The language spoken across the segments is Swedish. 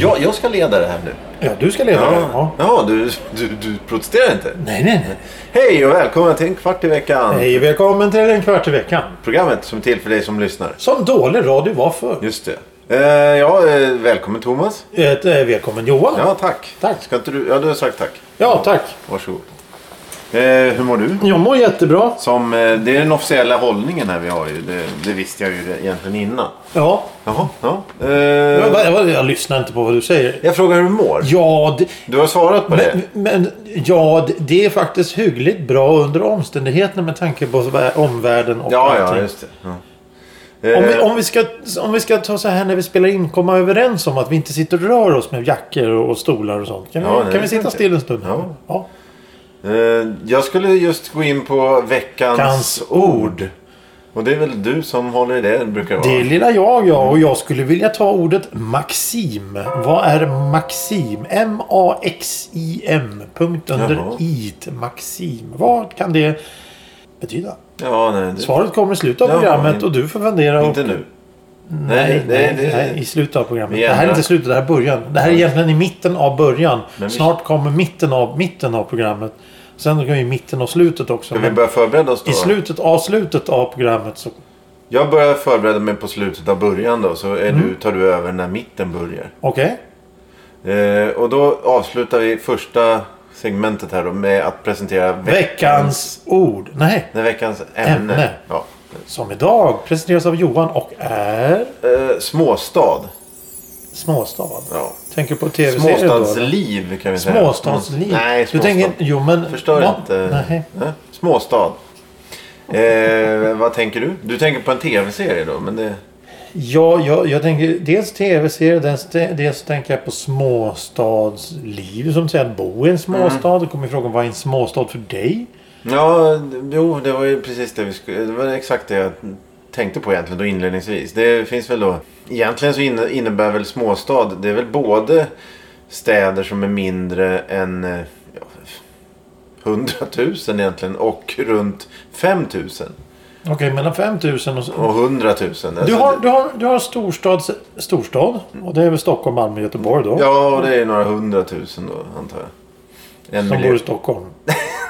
Ja, jag ska leda det här nu. Ja, du ska leda det. ja. Ja. ja du, du, du protesterar inte? Nej, nej, nej. Hej och välkomna till en kvart i veckan. Hej, välkommen till en kvart i veckan. Programmet som är till för dig som lyssnar. Som dålig radio var förr. Just det. Eh, ja, eh, välkommen Thomas. Ett, eh, välkommen Johan. Ja, tack. Tack. Ska inte du... Ja, du har sagt tack. Ja, tack. Varsågod. Eh, hur mår du? Jag mår jättebra. Som, eh, det är den officiella hållningen här vi har ju. Det, det visste jag ju egentligen innan. Ja. Jaha, ja. Eh, Jag, bara- jag, jag lyssnar inte på vad du säger. jag frågar hur du mår. Ja, det, Du har svarat på men, det. men, ja, det- det är faktiskt hyggligt bra under omständigheterna med tanke på vä- omvärlden och Ja, ja, allting. just det. Ja. Eh, Om vi, om, vi ska, om vi ska ta så här när vi spelar in, komma överens om att vi inte sitter och rör oss med jackor och stolar och sånt. Kan vi, Ja, nej, kan vi det sitta inte. still en stund? Ja. ja. eh, jag skulle just gå in på veckans Kans ord. Och det är väl du som håller i det, det brukar vara. Det är lilla jag, ja. Och jag skulle vilja ta ordet maxim. Vad är maxim? M-A-X-I-M. Punkt under Jaha. it. Maxim. Vad kan det betyda? Ja, nej. Det... Svaret kommer i slutet av Jaha, programmet inte- och du får fundera. och- Inte nu. Nej, det- nej, det- nej, i slutet av programmet. Vi Det här är ändrar. inte slutet, det här är början. Det här är egentligen i mitten av början. Men vi- Snart kommer mitten av, mitten av programmet. Sen kommer ju mitten och slutet också. Ska vi Men börja förbereda oss då? I slutet av slutet av programmet så... Jag börjar förbereda mig på slutet av början då. Så är Mm. du, tar du över när mitten börjar. Okej? Eh, och då avslutar vi första segmentet här då med att presentera veckans, Veckans ord. Nej, nej, veckans ämne. Ämne. Ja. som idag presenteras av Johan och är... Eh, småstad. Småstad. Ja. Tänker på tv-serier då? eller? Småstadsliv kan vi säga. Småstadsliv. Mm. Nej, du småstad. tänker... Jo, men... Förstör Ja, inte. Nej. Nej. Småstad. Eh, vad tänker du? Du tänker på en tv-serie då? Men det... Ja, jag, jag tänker dels tv-serier, dels, dels tänker jag på småstadsliv. Som säger att bo i en småstad. Mm. Då kommer frågan, vad är en småstad för dig? Ja, jo, det var ju precis det vi skulle... Det var exakt det jag tänkte på egentligen då inledningsvis. Det finns väl då... Egentligen så inne- innebär väl småstad, det är väl både städer som är mindre än eh, ja, 100 000 egentligen och runt 5 000 Okej, mellan 5000 och... så- och 100 000. Du Alltså, har, det- du har, du har storstad, storstad. Och det är väl Stockholm, Malmö, Göteborg då. Ja, och det är några hundratusen då antar jag. En som bor miljon. i Stockholm.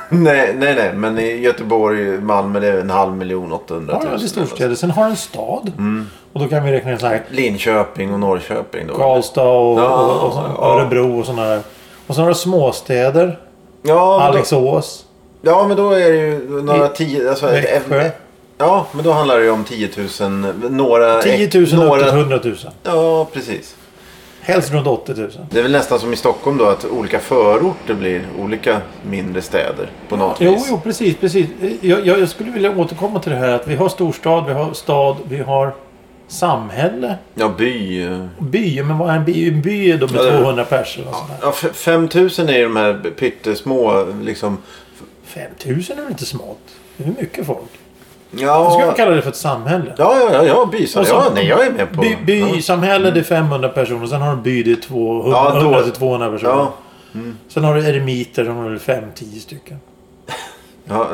Nej, nej, nej. Men i Göteborg, Malmö, det är en halv miljon Ja, 800 ja, 000. det är storstäder. Sen har du en stad. Mm. Och då kan vi räkna in så här Linköping och Norrköping då. Karlstad och, Ja, och, och så- ja. Örebro och sådana där. Och sen har du småstäder. Ja, men då- Alingsås. Ja, men då är det ju några I- tio... Alltså, Växjö. Ja, men då handlar det ju om 10 000... Några... 10 000 upp Eh, några, till 100 000. Ja, precis. Helst runt 80 000. Det är väl nästan som i Stockholm då att olika förorter blir olika mindre städer på något Jo, vis. jo, precis, precis. Jag, jag, jag skulle vilja återkomma till det här att vi har storstad, vi har stad, vi har samhälle. Ja, by... eh. By, men vad är en by? En by är då med Ja, det- 200 personer och sånt där. Ja, f- 5 000 är ju de här pyttesmå liksom... 5000 är väl inte smalt? Det är mycket folk. Jag skulle Ja, ja, kalla det för ett samhälle. ja, ja, ja bysar. Och så- Ja, nej, jag är med på... By, ja. bysamhälle det är 500 personer, sen har du en by det är 200, Ja, då- 100 till 200 personer. Ja, Sen har du eremiter, de har väl 5-10 stycken. ja.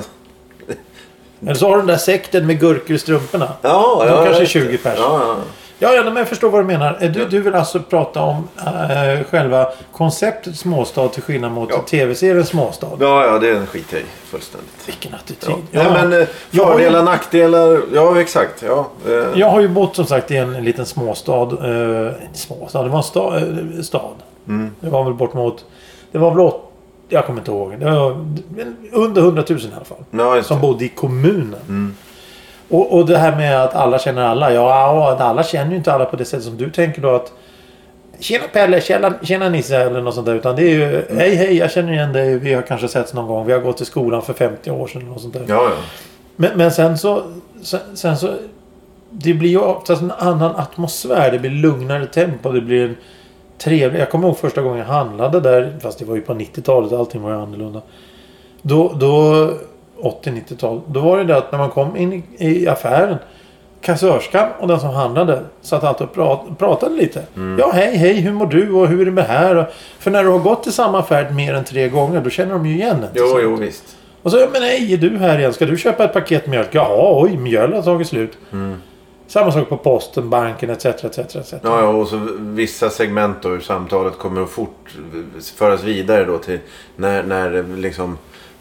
Eller så har du den där sekten med gurkor i strumporna. Ja, De ja, kanske är ja, 20 pers. Ja, ja. Ja, ja men jag förstår vad du menar. Eh, Du, du vill alltså prata om eh, själva konceptet småstad till skillnad mot Ja. tv-serien småstad. ja, ja, det skiter jag i fullständigt. Vilken attityd. Ja. Nej, men eh, Jag har ju- fördelar, nackdelar. Ja, exakt. Ja, eh, Jag har ju bott som sagt i en liten småstad. Eh, småstad, det var en sta, eh, stad. Mm. Det var väl bort mot... Det var väl åt, Jag kommer inte ihåg. Det var under 100 000 i alla fall. ja, just Som det. Mm. bodde i kommunen. Och, och det här med att alla känner alla. Ja, alla känner ju inte alla på det sättet som du tänker då att Tjena Pelle, tjena, tjena Nisse eller något sånt där. Utan det är ju hej hej jag känner igen dig. Vi har kanske setts någon gång. Vi har gått i skolan för 50 år sedan. Och sånt där. ja, ja. Men, men sen så... Sen, sen så... Det blir ju oftast en annan atmosfär. Det blir lugnare tempo. Det blir en trevlig... Jag kommer ihåg första gången jag handlade där. Fast det var ju på 90-talet. Allting var ju annorlunda. Då... då 80-90-tal. Då var det det att när man kom in i, i affären. kassörskan och den som handlade satt alltid och pra- pratade lite. Ja, hej, hej, hur mår du och hur är det med här? Och, för när du har gått i samma affär mer än tre gånger, då känner de ju igen en. Jo, jo, visst. Och så, ja, men hej, är du här igen? Ska du köpa ett paket mjölk? Jaha, oj, mjöl har tagit slut. Samma sak på posten, banken etc. etc, etc. Mm. Ja, ja, och så vissa segment då ur samtalet kommer att fort föras vidare då till när, när liksom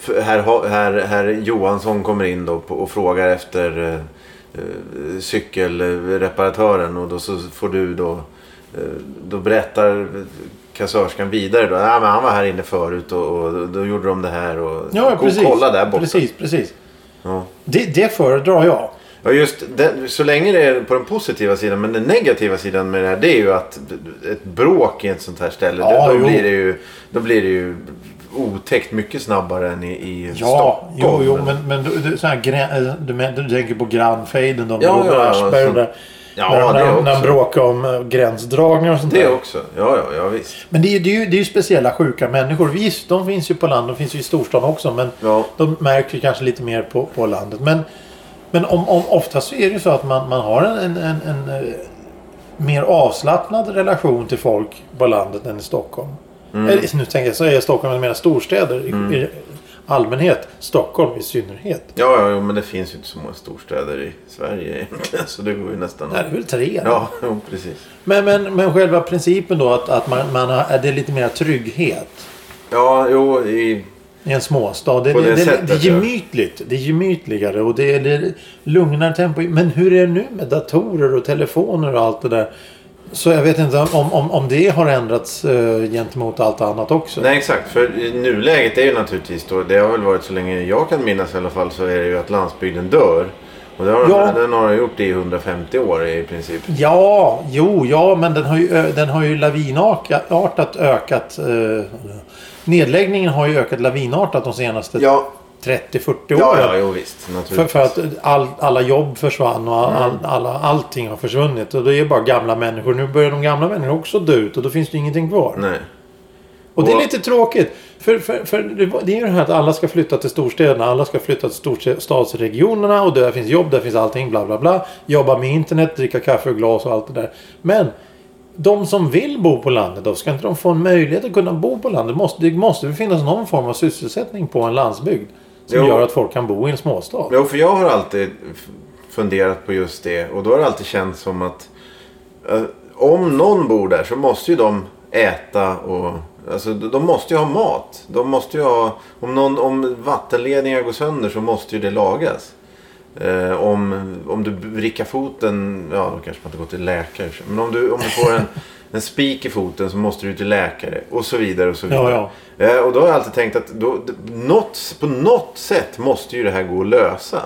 f- herr, Ha- herr, herr Johansson kommer in då på- och frågar efter eh, eh, cykelreparatören och då så får du då eh, då berättar kassörskan vidare då. Ja, men han var här inne förut och, och då gjorde de det här och Ja, och precis. kolla där borta. Precis, precis. Ja. Det, det föredrar jag. Ja just den, så länge det är på den positiva sidan. Men den negativa sidan med det här det är ju att ett bråk i ett sånt här ställe. Ja, då, jo. då, blir det ju, då blir det ju otäckt mycket snabbare än i, i Ja, jo, Stockholm. jo, men, men du, du, sån här, grä- eh, du, men- du tänker på grannfejden då med Ja, Robert ja, ja, Aschberg och så- där. Ja, när, det när, när de också. bråkar om eh, gränsdragningar och sånt Det där. också. Ja, ja, ja visst. Men det är, ju- det, är ju, det är ju speciella sjuka människor. Visst, de finns ju på land. De finns ju i storstan också. Men Ja. de märks ju kanske lite mer på, på landet. Men, men om, om, oftast så är det ju så att man, man har en, en, en, en eh, mer avslappnad relation till folk på landet än i Stockholm. Eller, nu tänker jag säga Stockholm, jag menar storstäder i, i allmänhet. Stockholm i synnerhet. Ja, ja, jo, men det finns ju inte så många storstäder i Sverige egentligen. Så det går ju nästan... Nej, det är väl tre. Ja, jo, precis. Men, men, men själva principen då att, att man, man har, det är lite mer trygghet. Ja, jo, i... I en småstad. Det, På det, det det, sättet, det är ja. gemytligt. Det är gemytligare och det är, det är lugnare tempo. Men hur är det nu med datorer och telefoner och allt det där? Så jag vet inte om, om, om det har ändrats eh, gentemot allt annat också. Nej, exakt. För i nuläget är ju naturligtvis då, det har väl varit så länge jag kan minnas i alla fall, så är det ju att landsbygden dör. Och det har, Ja. den har gjort det i 150 år i princip. Ja, jo, ja, men den har ju, ö- den har ju lavinartat ökat. Eh, nedläggningen har ju ökat lavinartat de senaste Ja, 30-40 åren. ja, ja jo, visst. För, Naturligtvis. för att all, alla jobb försvann och all, Mm. all, alla, allting har försvunnit. Och det är bara gamla människor. Nu börjar de gamla människorna också dö ut och då finns det ju ingenting kvar. Nej. Och det är Mm. Och- lite tråkigt. För, för, för det var- det är ju det här att alla ska flytta till storstäderna. Alla ska flytta till storstadsregionerna och där finns jobb, där finns allting, bla bla bla. Jobba med internet, dricka kaffe och glas och allt det där. Men de som vill bo på landet då, ska inte de få en möjlighet att kunna bo på landet? Måste, det måste väl finnas någon form av sysselsättning på en landsbygd? Som Jo. gör att folk kan bo i en småstad. Jo, för jag har alltid f- funderat på just det. Och då har det alltid känts som att eh, om någon bor där så måste ju de äta och... Alltså, de de måste ju ha mat. De måste ju ha... Om, någon, om vattenledningar går sönder så måste ju det lagas. Eh, om, om du vrickar foten, ja då kanske man inte går till läkare. Men om du, om du får en, en spik i foten så måste du till läkare. Och så vidare och så vidare. Ja, Eh, och då har jag alltid tänkt att då, d- något, på något sätt måste ju det här gå att lösa.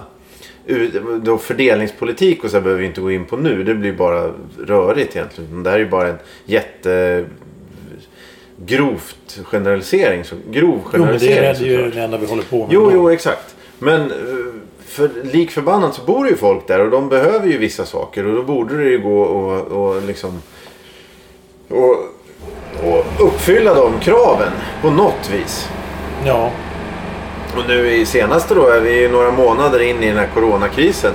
Ur- Då fördelningspolitik och så här behöver vi inte gå in på nu. Det blir bara rörigt egentligen. Men Det här är ju bara en jätte grovt generalisering. Så, grov Jo, men det generalisering. är, det är såklart. ju det enda vi håller på med. Jo, då. jo, exakt. Men eh, för lik förbannat så bor det ju folk där och de behöver ju vissa saker och då borde det ju gå och, och liksom och, och uppfylla de kraven på något vis. Ja. Och nu i senaste då, är vi ju några månader in i den här coronakrisen.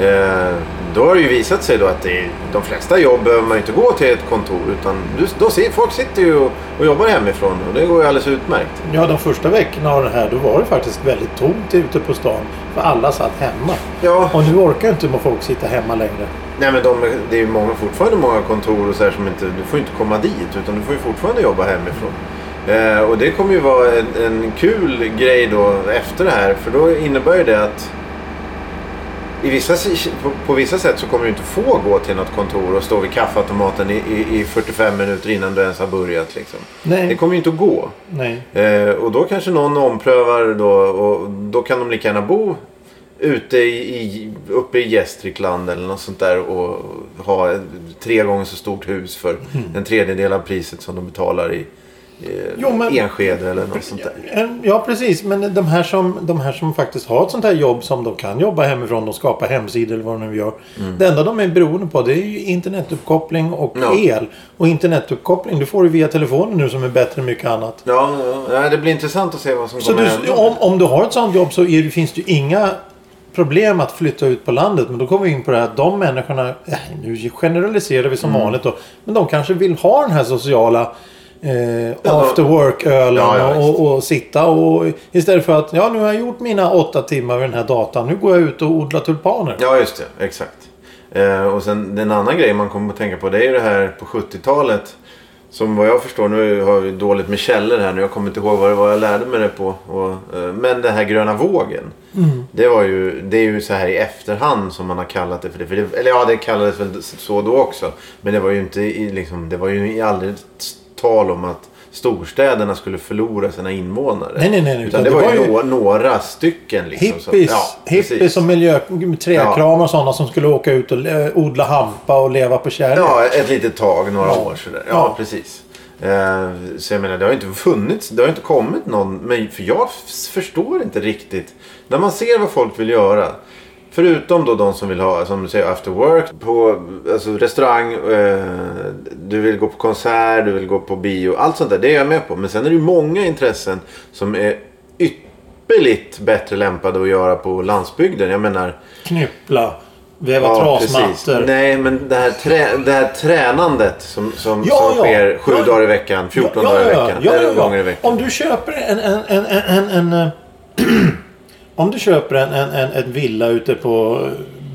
Eh, då har det ju visat sig då att det, är- de flesta jobb behöver man ju inte gå till ett kontor utan du, då ser, folk sitter ju och, och jobbar hemifrån och det går ju alldeles utmärkt. ja, de första veckorna av det här då var det faktiskt väldigt tomt ute på stan. För alla satt hemma. Ja. Och nu orkar inte med folk sitta hemma längre. Nej men de, det är ju många, fortfarande många kontor och så här som inte, du får ju inte komma dit utan du får ju fortfarande jobba hemifrån. Eh, och det kommer ju vara en, en kul grej då efter det här för då innebär ju det att i vissa, si- på, på vissa sätt så kommer du inte få gå till något kontor och stå vid kaffeautomaten i, i, i 45 minuter innan du ens har börjat liksom. Nej. Det kommer ju inte att gå. Nej. Eh, och då kanske någon omprövar då och då kan de lika gärna bo ute i, i, uppe i Gästrikland eller något sånt där och ha ett, tre gånger så stort hus för en tredjedel av priset som de betalar i eh, Jo, men- Enskede eller något sånt där. En- Ja, precis. Men de här, som, de här som faktiskt har ett sånt här jobb som de kan jobba hemifrån. De skapar hemsidor eller vad de nu gör. Det enda de är beroende på det är ju internetuppkoppling och Mm. Ja. el. Och internetuppkoppling, det får du via telefonen nu som är bättre än mycket annat. Ja, ja, ja, det blir intressant att se vad som Så kommer du, om, om du har ett sånt jobb så är, det- finns det ju inga problem att flytta ut på landet. Men då kommer vi in på det här att de människorna, eh, nu generaliserar vi som Mm. vanligt då. Men de kanske vill ha den här sociala eh, då- after work-ölen Ja, ja, visst. och, och sitta och istället för att ja nu har jag gjort mina åtta timmar vid den här datan. Nu går jag ut och odlar tulpaner. Ja, just det. Exakt. Eh, och sen en annan grej man kommer att tänka på det är ju det här på 70-talet. Som vad jag förstår, nu har jag dåligt med källor här nu. Jag kommer inte ihåg vad det var jag lärde mig det på. Och, eh, men den här gröna vågen. Mm. Det, var ju, det är ju så här i efterhand som man har kallat det för det. För det eller ja, det kallades väl så då också. Men det var ju inte i, liksom, det var ju aldrig tal om att storstäderna skulle förlora sina invånare. Nej, nej, nej, Utan, det, var ju nå- några stycken. Liksom, så att- Hippies, precis. hippies och miljö, trädkramar och sådana som skulle åka ut och eh, odla hampa och leva på kärlek. Ja, ett litet tag, några Ja. år sådär. Ja, Ja. precis. Eh, Så jag menar, det har ju inte funnits, det har ju inte kommit någon. Men för jag f- förstår inte riktigt. När man ser vad folk vill göra. Förutom då de som vill ha, som du säger, after work. På alltså, restaurang, eh, du vill gå på konsert, du vill gå på bio. Allt sånt där, det är jag med på. Men sen är det ju många intressen som är ypperligt bättre lämpade att göra på landsbygden. Jag menar, Knyppla, väva trasmattor. Nej, men det här, trä, det här tränandet som, som, Ja, som ja. sker sju Ja. dagar i veckan, 14 dagar i veckan, ja, eller ja, ja. gånger i veckan. Om du köper en... en, en, en, en, en eh, om du köper en, en, en, en villa ute på eh,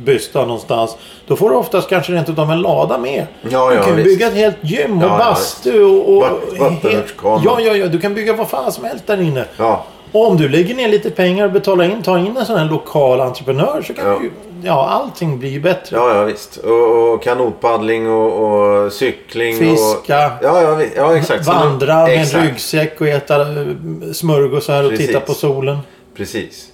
Bysta någonstans. Då får du oftast kanske rent utav en lada med. Ja, du ja, kan visst. bygga ett helt gym och Ja, ja, bastu och... och Vatt- vattenrutschkana. Ja, ja, ja. Du kan bygga vad fan som helst där inne. Ja, Och om du lägger ner lite pengar och betalar in, tar in en sån här lokal entreprenör så kan Ja. du ju... Ja, allting blir ju bättre. ja, ja visst. Och, och kanotpaddling och, och cykling. Och, Fiska. ja, ja, visst. ja, exakt. Så de- Vandra med exakt. en ryggsäck och äta eh, smörgåsar och Precis. titta på solen. Precis.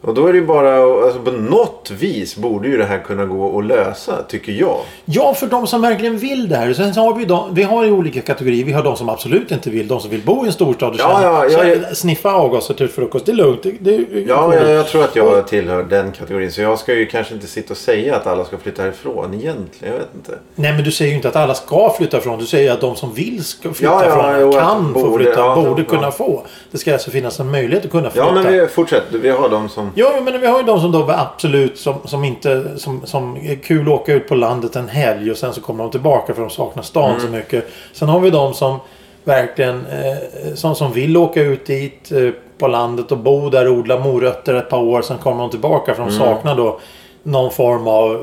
Och då är det ju bara, alltså på något vis borde ju det här kunna gå att lösa, tycker jag. Ja, för de som verkligen vill det här. Sen så har vi, ju de, vi har ju olika kategorier. Vi har de som absolut inte vill. De som vill bo i en storstad och Ja, känna- ja, ja, känna- sniffa avgaser till frukost. Det är lugnt. Det, det, det- Ja, jag, jag tror att jag tillhör den kategorin. Så jag ska ju kanske inte sitta och säga att alla ska flytta härifrån egentligen. Jag vet inte. Nej, men du säger ju inte att alla ska flytta från. Du säger att de som vill ska flytta Ja, ja, från jo, att kan få borde- flytta. ja, borde ja. kunna få. Det ska alltså finnas en möjlighet att kunna flytta. Ja, men vi, fortsätt. Vi har de som... Ja, jo, men vi har ju de som då absolut som, som inte som, som är kul att åka ut på landet en helg och sen så kommer de tillbaka för de saknar stan så mycket. Sen har vi de som verkligen eh, som, som vill åka ut dit eh, på landet och bo där och odla morötter ett par år. Sen kommer de tillbaka för de saknar då någon form av eh,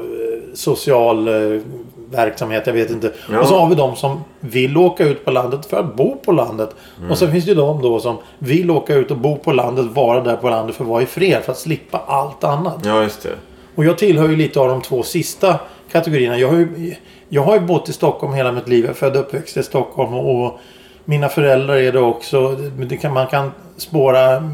social eh, verksamhet. Jag vet inte. Ja. Och så har vi de som vill åka ut på landet för att bo på landet. Och så finns det ju de då som vill åka ut och bo på landet, vara där på landet för att vara i fred, för att slippa allt annat. Ja, just det. Och jag tillhör ju lite av de två sista kategorierna. Jag har ju, jag har ju bott i Stockholm hela mitt liv. Jag är född och uppväxt i Stockholm. Och mina föräldrar är det också. Men Det kan, man kan spåra en,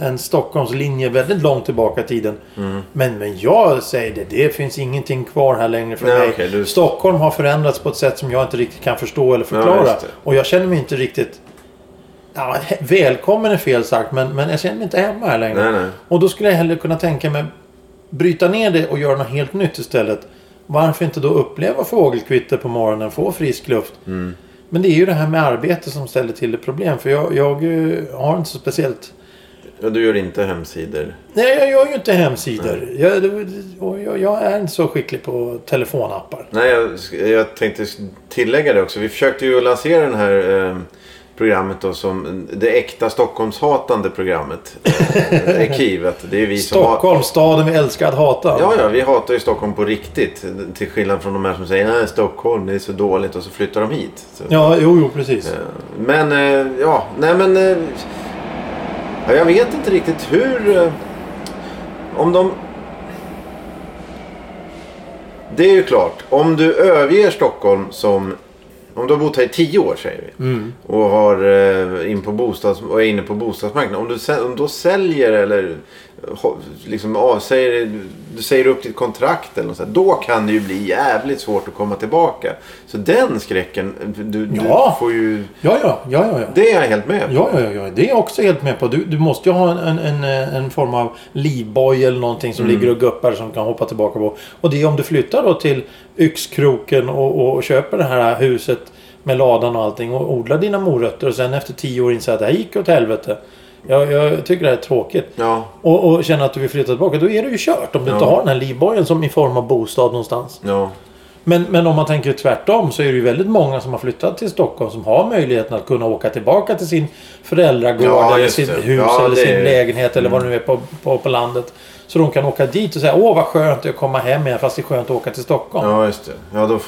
en Stockholmslinje väldigt långt tillbaka i tiden. Mm. Men, men jag säger det. Det finns ingenting kvar här längre för Nej, mig. okej, du- Stockholm har förändrats på ett sätt som jag inte riktigt kan förstå eller förklara. Ja, just det. och jag känner mig inte riktigt... Ja, he- välkommen är fel sagt, men, men jag känner mig inte hemma här längre. Nej, nej. Och då skulle jag hellre kunna tänka mig bryta ner det och göra något helt nytt istället. Varför inte då uppleva fågelkvitter på morgonen, få frisk luft. Mm. Men det är ju det här med arbete som ställer till det problem. För jag, jag eh, har inte så speciellt... Ja, du gör inte hemsidor. Nej, jag gör ju inte hemsidor. Jag, det- och jag, jag är inte så skicklig på telefonappar. Nej, jag, jag tänkte tillägga det också. Vi försökte ju lansera det här eh, programmet då som det äkta Stockholmshatande programmet. Eh, Arkivet. Det är vi som har... Stockholm, staden vi älskar att hata. Ja, ja, vi hatar ju Stockholm på riktigt. Till skillnad från de här som säger nej, Stockholm det är så dåligt och så flyttar de hit. Så. ja jo, jo, precis. Eh, Men, eh, ja, nej men... eh, ja, Jag vet inte riktigt hur... eh, Om de... Det är ju klart, om du överger Stockholm som... Om du har bott här i tio år säger vi. Mm. Och, har, eh, in på bostads, och är inne på bostadsmarknaden. Om du, sen- om då säljer eller ho- liksom avsäger, du säger upp ditt kontrakt eller något sånt, Då kan det ju bli jävligt svårt att komma tillbaka. Så den skräcken, du, Ja. du får ju... Ja, ja, ja, ja. ja. Det är jag helt med på. Ja, ja, ja, det är jag också helt med på. Du, du måste ju ha en, en, en, en form av livboj eller någonting som ligger och guppar som kan hoppa tillbaka på. Och det är om du flyttar då till Yxkroken och, och, och köper det här huset med ladan och allting och odlar dina morötter och sen efter tio år inser att det här gick åt helvete. Jag, jag tycker det här är tråkigt. Ja, Och, och känner att du vill flytta tillbaka, då är det ju kört. Om du inte Ja. har den här livbojen som i form av bostad någonstans. ja. Men, men om man tänker tvärtom så är det ju väldigt många som har flyttat till Stockholm som har möjligheten att kunna åka tillbaka till sin föräldragård Ja, eller just sitt det. hus Ja, eller det sin är- Mm. lägenhet eller vad det nu är på, på, på landet. Så de kan åka dit och säga åh vad skönt det är att komma hem igen fast det är skönt att åka till Stockholm. Ja, just det. Ja, då...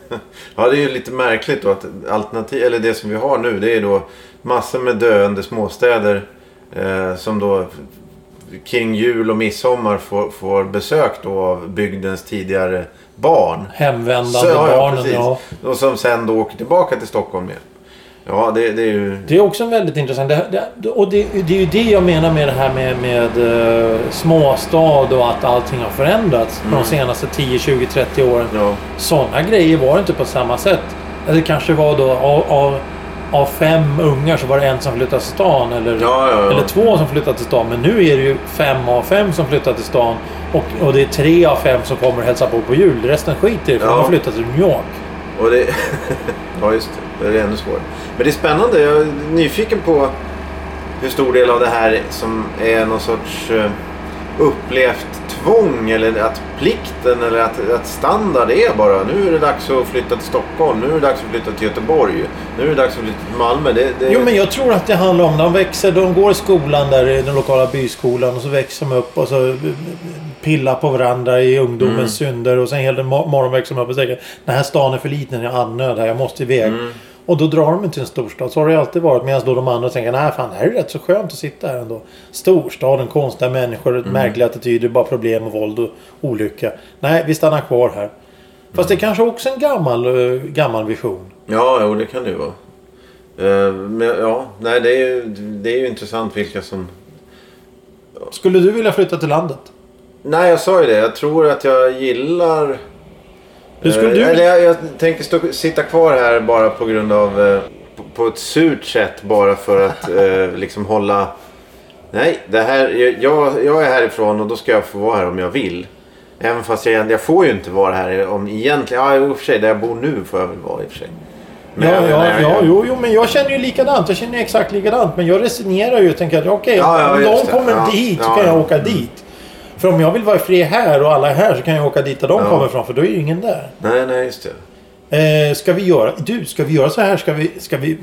ja, det är ju lite märkligt då att alternativ, eller det som vi har nu det är då massor med döende småstäder eh, som då kring jul och midsommar får, får besök då av bygdens tidigare barn. Hemvändande barnen. Ja. Och som sen då åker tillbaka till Stockholm igen. Ja, det, det är ju... Det är också en väldigt intressant. Det, det, och det, det är ju det jag menar med det här med, med eh, småstad och att allting har förändrats Mm. de senaste 10, 20, 30 åren. Ja, Sådana grejer var det inte på samma sätt. Eller det kanske var då av, av, av fem ungar så var det en som flyttade till stan. Eller, ja, ja. eller ja. två som flyttade till stan. Men nu är det ju fem av fem som flyttar till stan. Och, och det är tre av fem som kommer och hälsar på på jul. Resten skiter i det, för Ja. de har flyttat till New York. Och det... ja, just det. Det är ännu svårare. Men det är spännande. Jag är nyfiken på hur stor del av det här som är någon sorts eh, upplevt tvång eller att plikten eller att, att standard är bara nu är det dags att flytta till Stockholm, nu är det dags att flytta till Göteborg, nu är det dags att flytta till Malmö. Det, det... Jo men jag tror att det handlar om, de växer, de går i skolan där i den lokala byskolan och så växer de upp och så pillar på varandra i ungdomens synder och sen hela mor- morgonen växer de upp och säger den här stan är för liten, jag är andnöd här, jag måste iväg. Och då drar de till en storstad, så har det alltid varit. Medan då de andra tänker, nej fan det här är rätt så skönt att sitta här ändå. Storstaden, konstiga människor, märkliga attityder, bara problem och våld och olycka. Nej, vi stannar kvar här. Fast det kanske också är en gammal, eh, gammal vision. Ja, jo, det kan det ju vara. Eh, Men ja, nej, det är ju, det är ju intressant vilka som... Skulle du vilja flytta till landet? Nej, jag sa ju det. Jag tror att jag gillar... Hur skulle Eh, du... Eller jag, jag tänker stå, sitta kvar här bara på grund av... eh, På, på ett surt sätt bara för att eh, liksom hålla... Nej, det här, jag, jag är härifrån och då ska jag få vara här om jag vill. Även fast jag, jag får ju inte vara här om egentligen... Ja, i och för sig. Där jag bor nu får jag väl vara i och för sig. Men Ja, jag ja, menar, ja jag- jo, jo, men jag känner ju likadant. Jag känner ju exakt likadant. Men jag resonerar ju och tänker att okej, Ja, ja, om just de det. kommer Ja, dit så ja, Mm. kan jag ja. åka dit. För om jag vill vara fri här och alla är här så kan jag åka dit där de Ja. kommer ifrån för då är ju ingen där. Nej, nej, just det. Eh, ska vi göra... Du, ska vi göra så här? Ska vi... Ska vi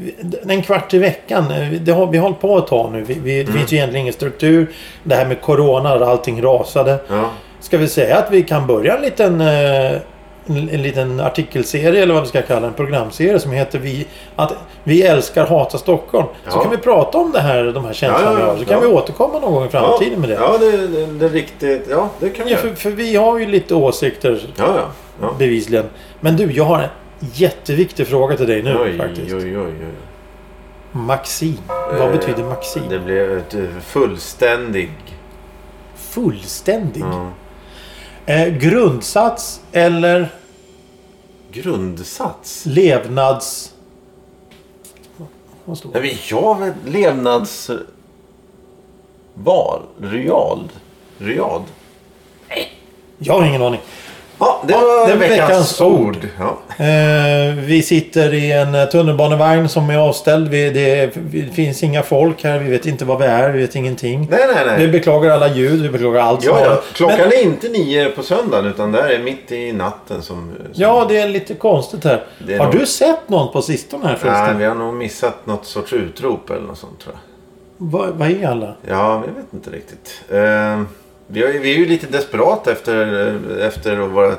en kvart i veckan. eh, Det har, vi har hållit på ett tag nu. Vi, vi, Det finns ju egentligen ingen struktur. Det här med Corona, där allting rasade. Ja. Ska vi säga att vi kan börja en liten, eh, en, en liten artikelserie eller vad vi ska kalla den, en programserie som heter vi, att vi älskar hata Stockholm. Så Ja. kan vi prata om det här, de här Ja, ja, känslorna vi ja. har. Så kan Ja. vi återkomma någon gång i framtiden med det. Ja. Ja, det, det, det är riktigt. Ja, det kan vi göra. för, för vi har ju lite åsikter Ja, ja. ja. bevisligen. Men du, jag har en jätteviktig fråga till dig nu Oj, faktiskt. oj, oj, oj. Maxim. Vad Eh, betyder maxim? Det blev ett eh, fullständig. Fullständig. Ja. Eh, grundsats eller Grundsats? levnads... Vad står det? Nej, men jag vet... Levnadsval? Real? Real? Jag har ingen aning. Ja, det Ja, var det är veckans, veckans ord. ord. Ja. Eh, vi sitter i en eh, tunnelbanevagn som är avställd. Vi, det, det finns inga folk här. Vi vet inte vad vi är. Vi vet ingenting. Nej, nej, Vi nej. beklagar alla ljud. Vi beklagar allt som Ja, har- ja. Klockan Men, är inte nio på söndagen utan det här är mitt i natten som... som ja, det är lite konstigt här. Det är Har nog- du sett någon på sistone här Nej, förresten? vi har nog missat något sorts utrop eller något sånt tror jag. Vad vad är alla? Ja, jag vet inte riktigt. Eh, vi, har, ju- vi är ju lite desperata efter, eh, efter våra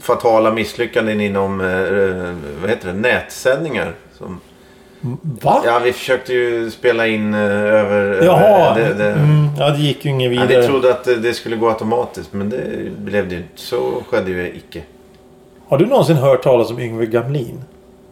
fatala misslyckanden inom eh, vad heter det, nätsändningar. Som, Va? ja, vi försökte ju spela in eh, över... Jaha. över det, det, Mm, ja, det gick ju inget ja, vidare. vi trodde att eh, det, det skulle gå automatiskt, men det blev det ju inte. Så skedde ju icke. Har du någonsin hört talas om Yngve Gamlin?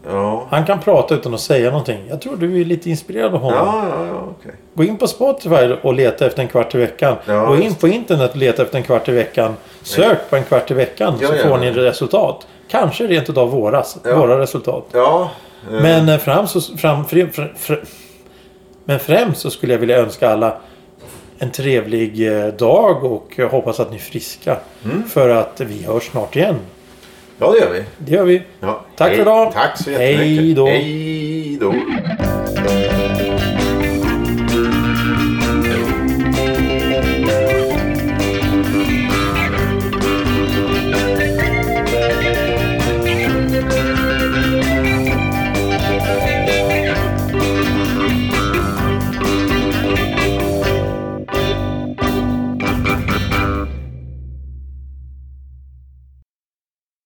Ja, Han kan prata utan att säga någonting. Jag tror du är lite inspirerad av honom. ja, ja, ja okej. Gå in på Spotify och leta efter en kvart i veckan. Ja, Gå in just på internet och leta efter en kvart i veckan. Sök på en kvart i veckan Ja, så ja, får ja. ni resultat. Kanske rent utav våras, Ja. våra resultat. Ja, eh, Men, eh, fram så, fram, fri, fr, fr, men främst så skulle jag vilja önska alla en trevlig eh, dag och jag hoppas att ni är friska. Mm. För att vi hörs snart igen. ja det gör vi. Det gör vi. Ja. Tack för hej- idag. Tack så Hej jättemycket. då. Hej då.